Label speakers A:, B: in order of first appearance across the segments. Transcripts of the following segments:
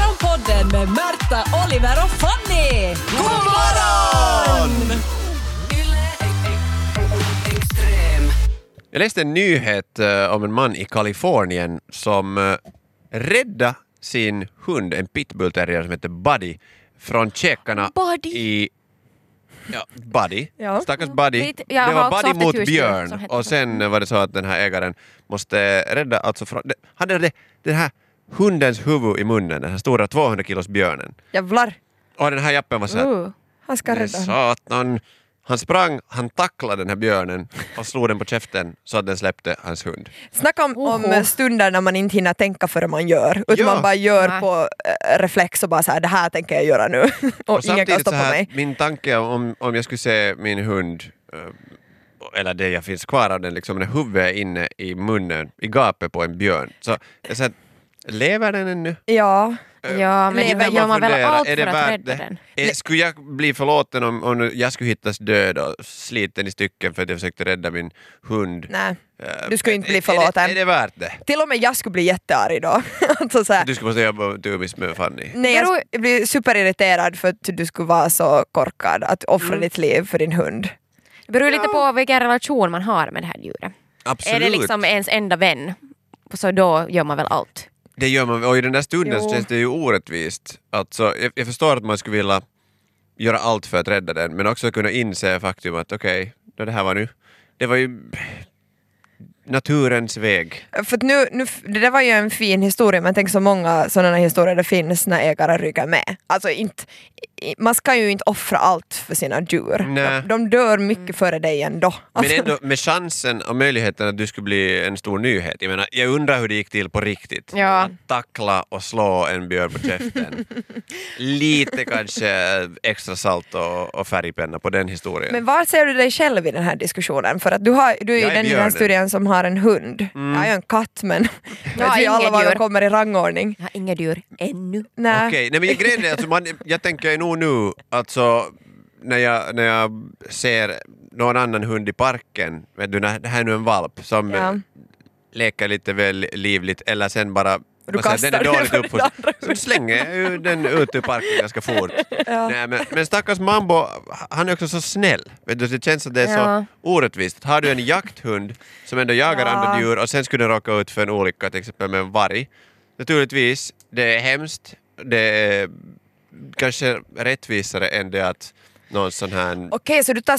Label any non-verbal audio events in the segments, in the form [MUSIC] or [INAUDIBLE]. A: Morgonpodden med Märta, Oliver och Fanny! God morgon!
B: Jag läste en nyhet eh, om en man i Kalifornien som uh, räddade sin hund, en pitbullterrier som heter Buddy, från käkarna
C: Buddy.
B: i... Ja, Buddy.
C: Ja.
B: Stackars Buddy.
C: Vet- jag
B: det
C: har
B: var
C: också haft
B: Buddy
C: ett
B: mot
C: husdjur som
B: björn.
C: hette
B: Och sen eh, var det så att den här ägaren måste rädda alltså från... det- Han hade den här hundens huvud i munnen, den här stora 200 kilos björnen.
C: Jävlar!
B: Och den här jappen var så här,
C: Uh, han ska
B: men
C: rädda honom.
B: satan. Han sprang, han tacklade den här björnen och slog den på käften så att den släppte hans hund.
D: Snacka om, om stunder när man inte hinner tänka före man gör,
B: Ja.
D: utan man bara gör
C: Nej.
D: på eh, reflex och bara så här, det här tänker jag göra nu. [LAUGHS] och, ingen kan
B: samtidigt
D: stoppa
B: så här,
D: mig.
B: Min tanke om, om jag skulle se min hund, eh, eller det jag finns kvar av den, liksom, när huvudet är inne i munnen, i gapet på en björn. Så, så här, lever den ännu?
D: Ja,
B: Eh.
C: Ja, men
B: Lever
C: det gör man väl
B: liksom, fundera,
C: allt
B: är
C: för
B: det värt
C: att rädda
B: det?
C: den?
B: Eh, Skulle jag bli förlåten om, om jag skulle hittas död och sliten i stycken för att jag försökte rädda min hund?
D: nej.
B: Eh,
D: Du skulle inte bli
B: är det-
D: förlåten.
B: Är det värt det?
D: Till och med jag skulle bli jättearg då. [LAUGHS] alltså så här,
B: Du skulle måste jobba dummis med Fanny.
D: nej, jag
C: Beror-
D: skulle bli superirriterad för att du skulle vara så korkad att offra
C: Mm.
D: ditt liv för din hund.
C: Det beror lite på vilken relation man har med det här djuret.
B: Absolut.
C: Är det liksom ens enda vän, så då gör man väl allt.
B: Det gör man, och i den där stunden så
D: Jo.
B: känns det ju orättvist. Alltså, jag, jag förstår att man skulle vilja göra allt för att rädda den, men också kunna inse faktum att okej, då det här var nu. Det var ju naturens väg.
D: För att nu, nu, det där var ju en fin historia men tänk så många sådana historier det finns när ägare rycker med. Alltså inte, i- man ska ju inte offra allt för sina djur.
B: Nej. Mm.
D: De, de dör mycket före dig ändå.
B: Men
D: Alltså,
B: ändå med chansen och möjligheten att du skulle bli en stor nyhet. Jag menar, jag undrar hur det gick till på riktigt.
C: Ja.
B: Att tackla och slå en björn på käften. Lite kanske extra salt och, och färgpenna på den historien.
D: men var ser du dig själv i den här diskussionen? För att du, har, du är ju
B: Jag är
D: den i den här
B: björnen.
D: studien som har en hund.
B: Mm.
D: Jag är ju en katt [LAUGHS] men
C: Jag har
D: vi alla
C: inget
D: var
C: djur.
D: kommer i rangordning.
C: Jag har inga djur ännu.
D: Nej.
B: Okej, nej men jag- grejen är alltså, man, jag tänker nog nu, alltså när jag, när jag ser någon annan hund i parken, vet du, när, det här är nu en valp som
D: Ja.
B: eh, leker lite väl livligt eller sen bara
D: Du
B: vad säger jag,
D: kastar
B: den är
D: den
B: dåligt
D: över den
B: uppfostrad.
D: andra
B: Så slänger jag ju den ut ur parken ganska fort.
D: [LAUGHS] Ja.
B: Nej, men, men stackars Mambo, han är också så snäll. Vet du, det känns att det är
C: Ja.
B: så orättvist. Har du en jakthund som ändå jagar
D: Ja.
B: andra djur och sen skulle den råka ut för en olycka, till exempel med en varg. Naturligtvis, det är hemskt. Det är kanske rättvisare än det att någon sån här...
D: Okej, så du tar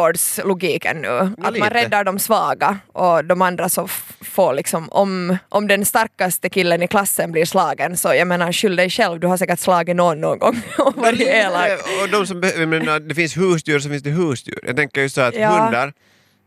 D: skolgårdslogiken nu?
B: Ja,
D: att man
B: lite.
D: räddar de svaga och de andra så f- får liksom, om, om den starkaste killen i klassen blir slagen så jag menar skyll dig själv, du har säkert slagit någon någon gång [LAUGHS] och varit elak.
B: Och de som behöver, jag menar, det finns husdjur så finns det husdjur. Jag tänker ju så att
D: Ja.
B: hundar...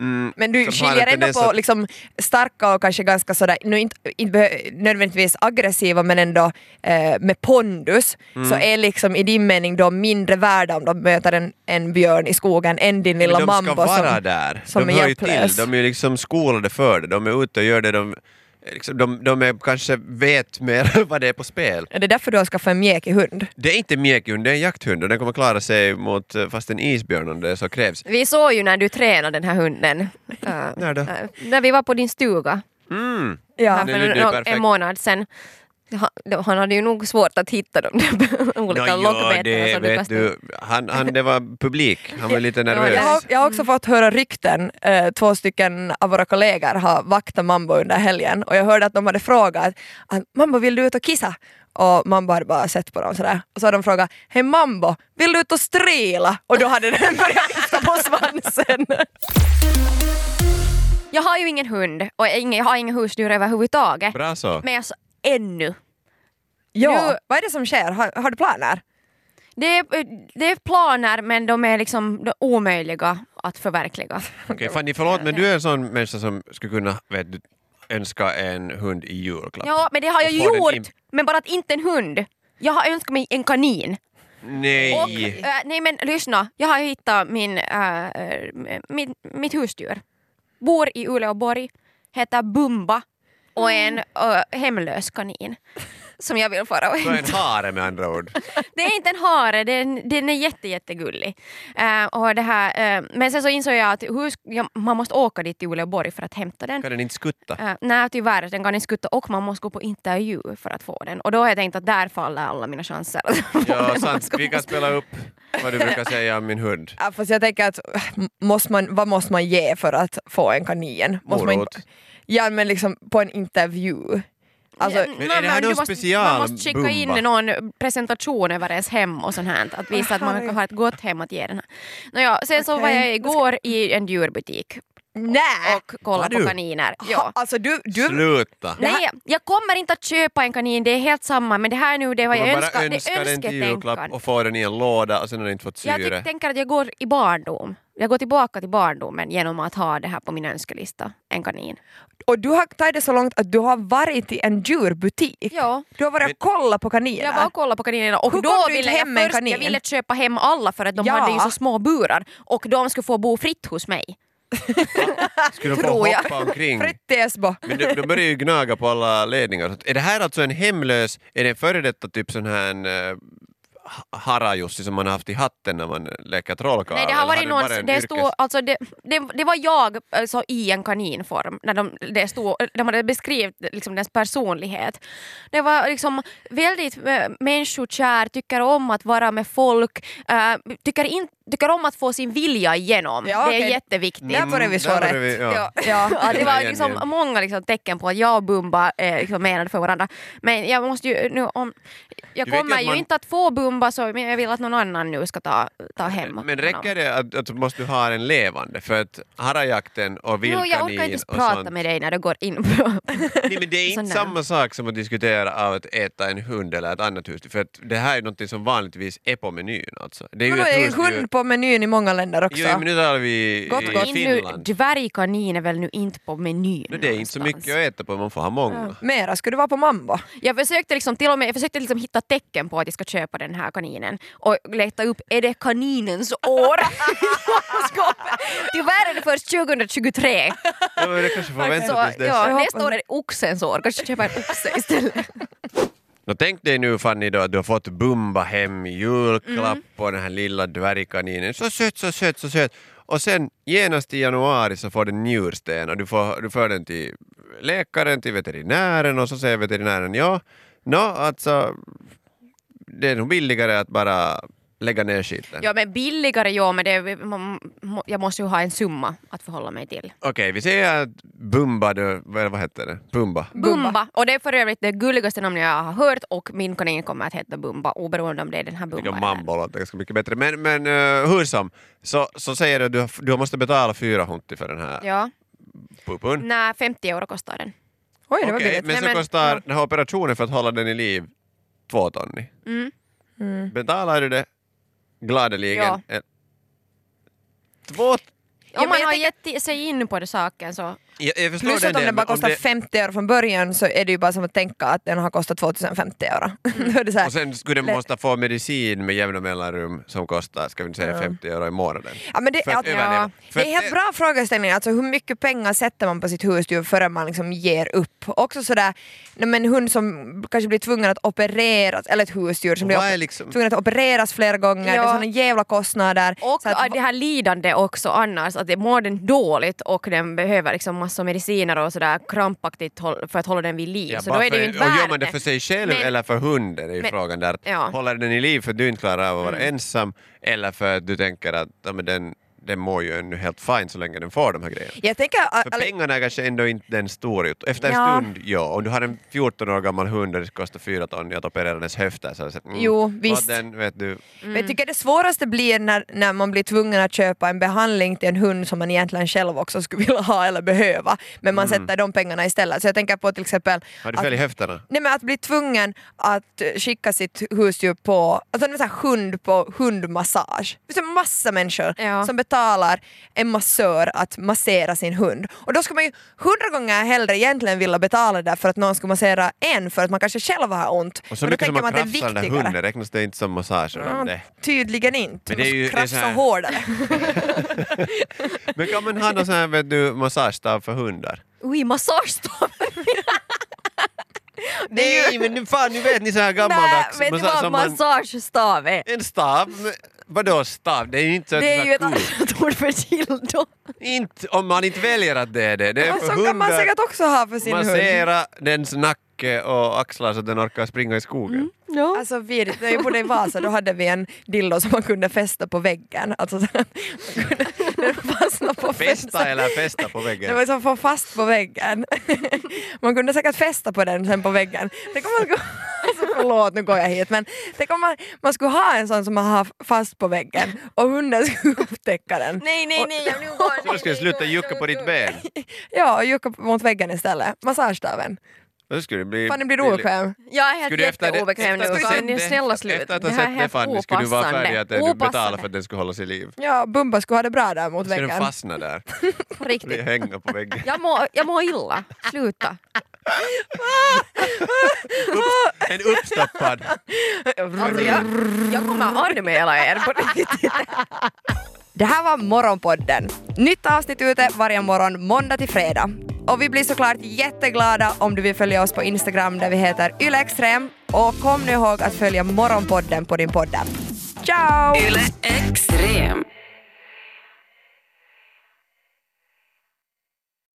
B: Mm,
D: Men du
B: som har
D: skiljer
B: en
D: ändå
B: tendens
D: på
B: att-
D: liksom starka och kanske ganska sådär, nu inte, inte behö- nödvändigtvis aggressiva men ändå eh, med pondus,
B: Mm.
D: så är liksom i din mening de mindre värda om de möter en, en björn i skogen än din lilla
B: Men de ska
D: mambo
B: vara
D: som,
B: där.
D: som
B: de
D: är
B: hör ju till.
D: hjälplös.
B: De är ju liksom skolade för det. De är ute och gör det de... Liksom, de, de är, kanske vet mer [LAUGHS] vad det är på spel.
D: Är det därför du har skaffat en mjäkig hund?
B: Det är inte mjäkhund, det är en jakthund och den kommer klara sig mot eh, fast en isbjörn om det så krävs.
C: Vi såg ju när du tränade den här hunden. eh,
B: När då?
C: eh, när vi var på din stuga
B: Mm.
D: Ja.
C: här
B: Det är ju
C: för nå-
B: perfekt.
C: en månad sedan. Han, han hade ju nog svårt att hitta de där [LAUGHS] olika alltså,
B: Nå,
C: lockbetorna
B: det
C: som du
B: vet
C: kastade.
B: du. Han, han, det var publik, han var lite nervös.
D: Jag har, jag har också fått höra rykten, eh, två stycken av våra kollegor har vaktat mambo under helgen och jag hörde att de hade frågat att mambo vill du ut och kissa? Och mambo hade bara sett på dem sådär och så hade de frågat hej mambo, vill du ut och strela? Och då hade den [LAUGHS] börjat kissa på svansen.
C: Jag har ju ingen hund och ingen, jag har inga husdjur överhuvudtaget.
B: Bra så.
C: Men alltså, ännu.
D: ja,
C: Nu-
D: vad är det som sker? Har, har du planer?
C: Det är, eh, det är planer men de är liksom de är omöjliga att förverkliga.
B: Okej, Fanny, förlåt men du är en sån människa som skulle kunna vet, du, önska en hund i julklapp.
C: [LAUGHS] Ja, men det har jag ju
B: Och får den
C: gjort! Men bara att inte en hund. Jag har önskat mig en kanin. Och,
B: Nej!
C: eh, nej men lyssna, jag har ju hittat min, äh, äh, mitt, mitt husdjur. Bor Mm. i Uleåborg, heter Bumba och är en äh, hemlös eh, kanin. som jag vill fara och
B: Du är en hare med andra ord.
C: det är inte en hare, den, den är jätte, jättegullig. Eh, och det här, eh, men sen så insåg jag att hur, sk- ja, man måste åka dit till Uleåborg för att hämta den.
B: Kan den inte skutta?
C: Eh, nej tyvärr, den kan inte skutta och man måste gå på intervju för att få den. Och då har jag tänkt att där faller alla mina chanser. [LAUGHS] att få den.
B: Ja,
C: Man
B: sant.
C: ska-
B: Vi
C: [LAUGHS]
B: kan spela upp vad du brukar säga om min hund.
D: Ja, fast jag tänker att äh, m- måste man, vad måste man ge för att få en kanin? Måste man
B: Morot.
D: ja men liksom på en intervju. Alltså,
C: Ja,
B: Men
C: nej,
B: är det här
C: Mm, du
B: någon
C: måste-
B: special
C: Man måste skicka in
B: bumba?
C: någon presentation över ens hem och sånt här. Att visa att man har ett gott hem att ge den här. Nåja, sen så
D: Okej.
C: var jag igår i en djurbutik
D: nej!
C: och kollade
B: Var
C: på
B: du?
C: kaniner.
D: Ha,
C: Ja.
D: alltså du, du
B: Sluta!
D: Det här-
C: Nej, jag kommer inte att köpa en kanin, det är helt samma. Men det här är nu det vad
B: Man
C: jag
B: bara
C: önskar.
B: önskar
C: det är
B: den till julklapp
C: önsketänkan.
B: och får den i en låda och sen har den inte fått
C: Jag tyck,
B: syre.
C: tänker att jag går i barndom. Jag går tillbaka till barndomen genom att ha det här på min önskelista, en kanin.
D: och du har tagit det så långt att du har varit i en djurbutik.
C: Ja.
D: Du har varit
B: Men-
D: och kollat på kaniner.
C: Jag var och kollade på kaninerna och
D: Hur
C: då
D: kom du
C: ville
D: inte
C: jag
D: hem med en
C: först, jag
D: kanin?
C: ville köpa hem alla för att de
D: Ja.
C: hade ju så små burar och de skulle få bo fritt hos mig.
B: Skulle de
D: tror
B: få
D: jag.
B: hoppa omkring?
D: Fritt i Esbo.
B: Men de, de börjar ju gnaga på alla ledningar. Så Är det här alltså en hemlös, är det en före detta typ sån här en, eh, ha- harajussi som man har haft i hatten när man leker trollkarl?
C: Nej, det har
B: Eller
C: varit
B: den
C: någon,
B: bara en
C: det,
B: yrkes-
C: stod, alltså det, det, det var jag alltså, i en kaninform när de, det stod, de hade beskrivit liksom, dess personlighet. Det var liksom väldigt äh, människokär, tycker om att vara med folk, eh, tycker, in, tycker om att få sin vilja igenom.
D: Ja,
C: Det är
D: okej.
C: jätteviktigt.
D: Där började vi slå
B: Mm, Där
D: rätt.
B: började vi- ja.
D: Ja.
B: [LAUGHS]
D: Ja.
C: Ja, det var
B: igen,
C: liksom
B: igen.
C: många liksom tecken på att jag och Bumba är liksom menade för varandra. Men jag måste ju nu om... Jag
B: Du vet ju
C: kommer
B: att
C: ju
B: man-
C: inte att få Bumba så men jag vill att någon annan nu ska ta, ta hem
B: Men räcker
C: honom.
B: det att, att måste du ha en levande? För att harajakten och
C: Jo,
B: vildkanin
C: jag orkar inte ens
B: och
C: prata
B: sånt.
C: med dig när du går in på...
B: [LAUGHS]
C: [LAUGHS]
B: Nej, men det är inte
C: Sån där.
B: samma sak som att diskutera av att äta en hund eller ett annat husdjur. För att det här är något som vanligtvis är på menyn. Alltså. Det är
D: Men då
B: ett
D: är
B: husdjur-
D: hund på menyn i många länder också.
B: Jo, men nu talar vi
D: Gott,
B: i
D: gott.
C: In nu,
B: Finland.
C: dvärgkanin är väl nu inte på menyn
B: No, det är inte så mycket
C: någonstans.
B: att äta på, man får ha många.
D: Mera skulle du vara på mambo.
C: Jag försökte, liksom, till och med, jag försökte liksom hitta tecken på att jag ska köpa den här kaninen och leta upp, är det kaninens
B: [LAUGHS]
C: år? Tyvärr är det först 2023.
B: Ja, men det kanske får
C: Så,
B: vänta tills dess.
C: ja,
D: hoppas-
C: nästa år är det oxens år, kanske köpa en oxe
B: [LAUGHS]
C: istället.
B: Nå, tänk dig nu Fanny då, att du har fått Bumba hem i julklapp
C: Mm.
B: och den här lilla dvärgkaninen. Så söt, så söt, så söt. Och sen genast i januari så får den njursten och du, får, du för den till läkaren, till veterinären och så säger veterinären ja, nå alltså det är nog billigare att bara lägga ner skiten.
C: ja men billigare ja, men det, är- man, må- jag måste ju ha en summa att förhålla mig till.
B: Okej, vi säger att Bumba, då, vad, vad heter det? Bumba.
C: Bumba. Och det är för övrigt det gulligaste namnet jag har hört och min kanin kommer att heta Bumba oberoende om det är den här Bumba
B: Vilken
C: eller-
B: mambo låter ganska mycket bättre. Men, men eh, hur som, så, så säger du att du, har- du måste betala 400 för den här
C: Ja,
B: pupun.
C: nej 50 euro kostar den.
D: Oj, det var
B: Okej,
D: billigt.
B: men
C: Nej,
B: så
C: men-
B: kostar
C: ja.
B: den här operationen för att hålla den i liv två tonni.
C: Mm.
B: Betalar du det gladeligen?
C: Ja.
B: Eh, Två...
D: Ja, men
C: Om man
D: jag
C: har gett sig in på det saken så...
B: Jag, jag förstår
D: Plus
B: den
D: att om
B: delen,
D: den bara
B: men om
D: kostar
B: det-
D: 50 euro från början så är det ju bara som att tänka att den har kostat 2050 euro. [LAUGHS]
C: Mm.
D: Då är det så här,
B: Och sen skulle den
D: Lätt.
B: måste få medicin med jämna mellanrum som kostar, ska vi inte säga 50 euro i månaden.
D: ja, men det,
B: för att
D: ja,
B: överleva. För
D: det är en
B: att-
D: helt bra frågeställning, alltså hur mycket pengar sätter man på sitt husdjur förrän man liksom ger upp? Också sådär, nej, men hund som kanske blir tvungen att opereras, eller ett husdjur som blir
B: Vad är
D: op-
B: liksom...
D: tvungen att opereras flera gånger, det
C: Ja.
D: är sådana jävla kostnader.
C: Och
D: så att,
C: att det här lidande också annars, att det mår den dåligt och den behöver liksom massor mediciner och sådär krampaktigt håll- för att hålla den vid liv.
B: Ja,
C: så
B: bara
C: då är det
B: för-
C: ju inte
B: och gör
C: värt
B: man det för sig själv
C: Men-
B: eller för hunden är ju
C: Men-
B: frågan där.
C: Ja.
B: Håller den i liv för att du inte klarar av att
D: Mm.
B: vara ensam eller för att du tänker att ja, men den, den mår ju ännu helt fine så länge den får de här grejerna.
D: jag tänker,
B: För
D: eller-
B: pengarna är kanske ändå inte den stora ut. Efter en
D: Ja.
B: stund, ja. Om du har en 14 år gammal hund och det kostar 4 ton att operera hennes höfter så, så mm,
D: Jo,
B: låt
D: visst.
B: Den, vet du.
D: Men
C: Mm.
D: jag tycker det svåraste blir när, när man blir tvungen att köpa en behandling till en hund som man egentligen själv också skulle vilja ha eller behöva men man sätter de pengarna istället. Så jag tänker på till exempel
B: Har Mm. du
D: att,
B: fel i höfterna?
D: nej men att bli tvungen att eh, skicka sitt husdjur på alltså en sån här hund på hundmassage. Det finns en massa människor
C: Ja.
D: som betalar en massör att massera sin hund. Och då skulle man ju hundra gånger hellre egentligen vilja betala det för att någon ska massera en för att man kanske själv har ont.
B: Och så
D: Men då
B: mycket
D: tänker
B: som man
D: att det är
B: krafsar den där
D: viktigare.
B: hunden räknas det inte som massager
D: Ja,
B: om det.
D: Tydligen
B: Men
D: inte.
B: det är
D: Man
B: ju- det är
D: ska krafsa
B: så här- [LAUGHS]
D: hårdare.
B: Men kan man ha någon sån här vet du, massagestav för hundar?
C: Ui, massagestav! Det är
B: Nej
C: ju-
B: men nu fan nu vet ni så här
C: Nej,
B: gammaldags.
C: vet du
B: så-
C: vad
B: som man-
C: massagestav är?
B: En stav? Men Vadå stav? Det är ju inte så att
C: Det är ju ett
B: så här
C: annat ord för dildo.
B: cool. inte, Om man inte väljer att det är det. Det är
D: Och
B: för
D: så kan man
B: hundar.
D: säkert också ha för sin hund.
B: Massera dens nacke och axlar så att den orkar springa i skogen.
C: Mm. Ja.
D: Alltså vidrigt, när jag bodde i Vasa då hade vi en dildo som man kunde fästa på väggen. Alltså så [LAUGHS] att man kunde den fastnade på
B: Festa
D: fönstret.
B: eller festa på väggen.
D: Det var som att få fast på väggen. Man kunde säkert fästa på den sen på väggen. Det kommer man, alltså, förlåt, nu går jag hit. Men det kommer man, man skulle ha en sån som man har fast på väggen och hunden skulle upptäcka den.
C: Nej, nej, nej. jag- Nu går
B: Så då ska jag sluta jucka på ditt ben.
D: Ja, och jucka mot väggen istället. Massagestaven.
B: Då skulle det bli...
D: Fan, det blir obekväm.
C: Jag är helt
B: Skulle du efter det-
C: jätteobekväm nu.
B: efter att ha
C: Kan
B: sett
C: ni
B: det-
C: snälla sluta?
B: Efter att
C: Det
B: ha
C: här är
B: sett det
C: helt
B: Fanny skulle du vara färdig att du betalar
C: Opassande.
B: för att den skulle hålla sig i liv.
D: Ja, Bumba skulle ha det bra där mot
B: Ska den
D: väggen.
B: fastna där? Bli
C: Riktigt.
B: hänga på väggen.
C: Jag mår, jag mår illa. Sluta.
B: Upps, en uppstoppad.
C: Alltså, jag, jag kommer anmäla er på riktigt.
D: Det här var Morgonpodden. Nytt avsnitt ute varje morgon måndag till fredag. Och vi blir såklart jätteglada om du vill följa oss på Instagram där vi heter ylextrem. Och kom nu ihåg att följa Morgonpodden på din poddapp. Ciao!
A: Yle Extra.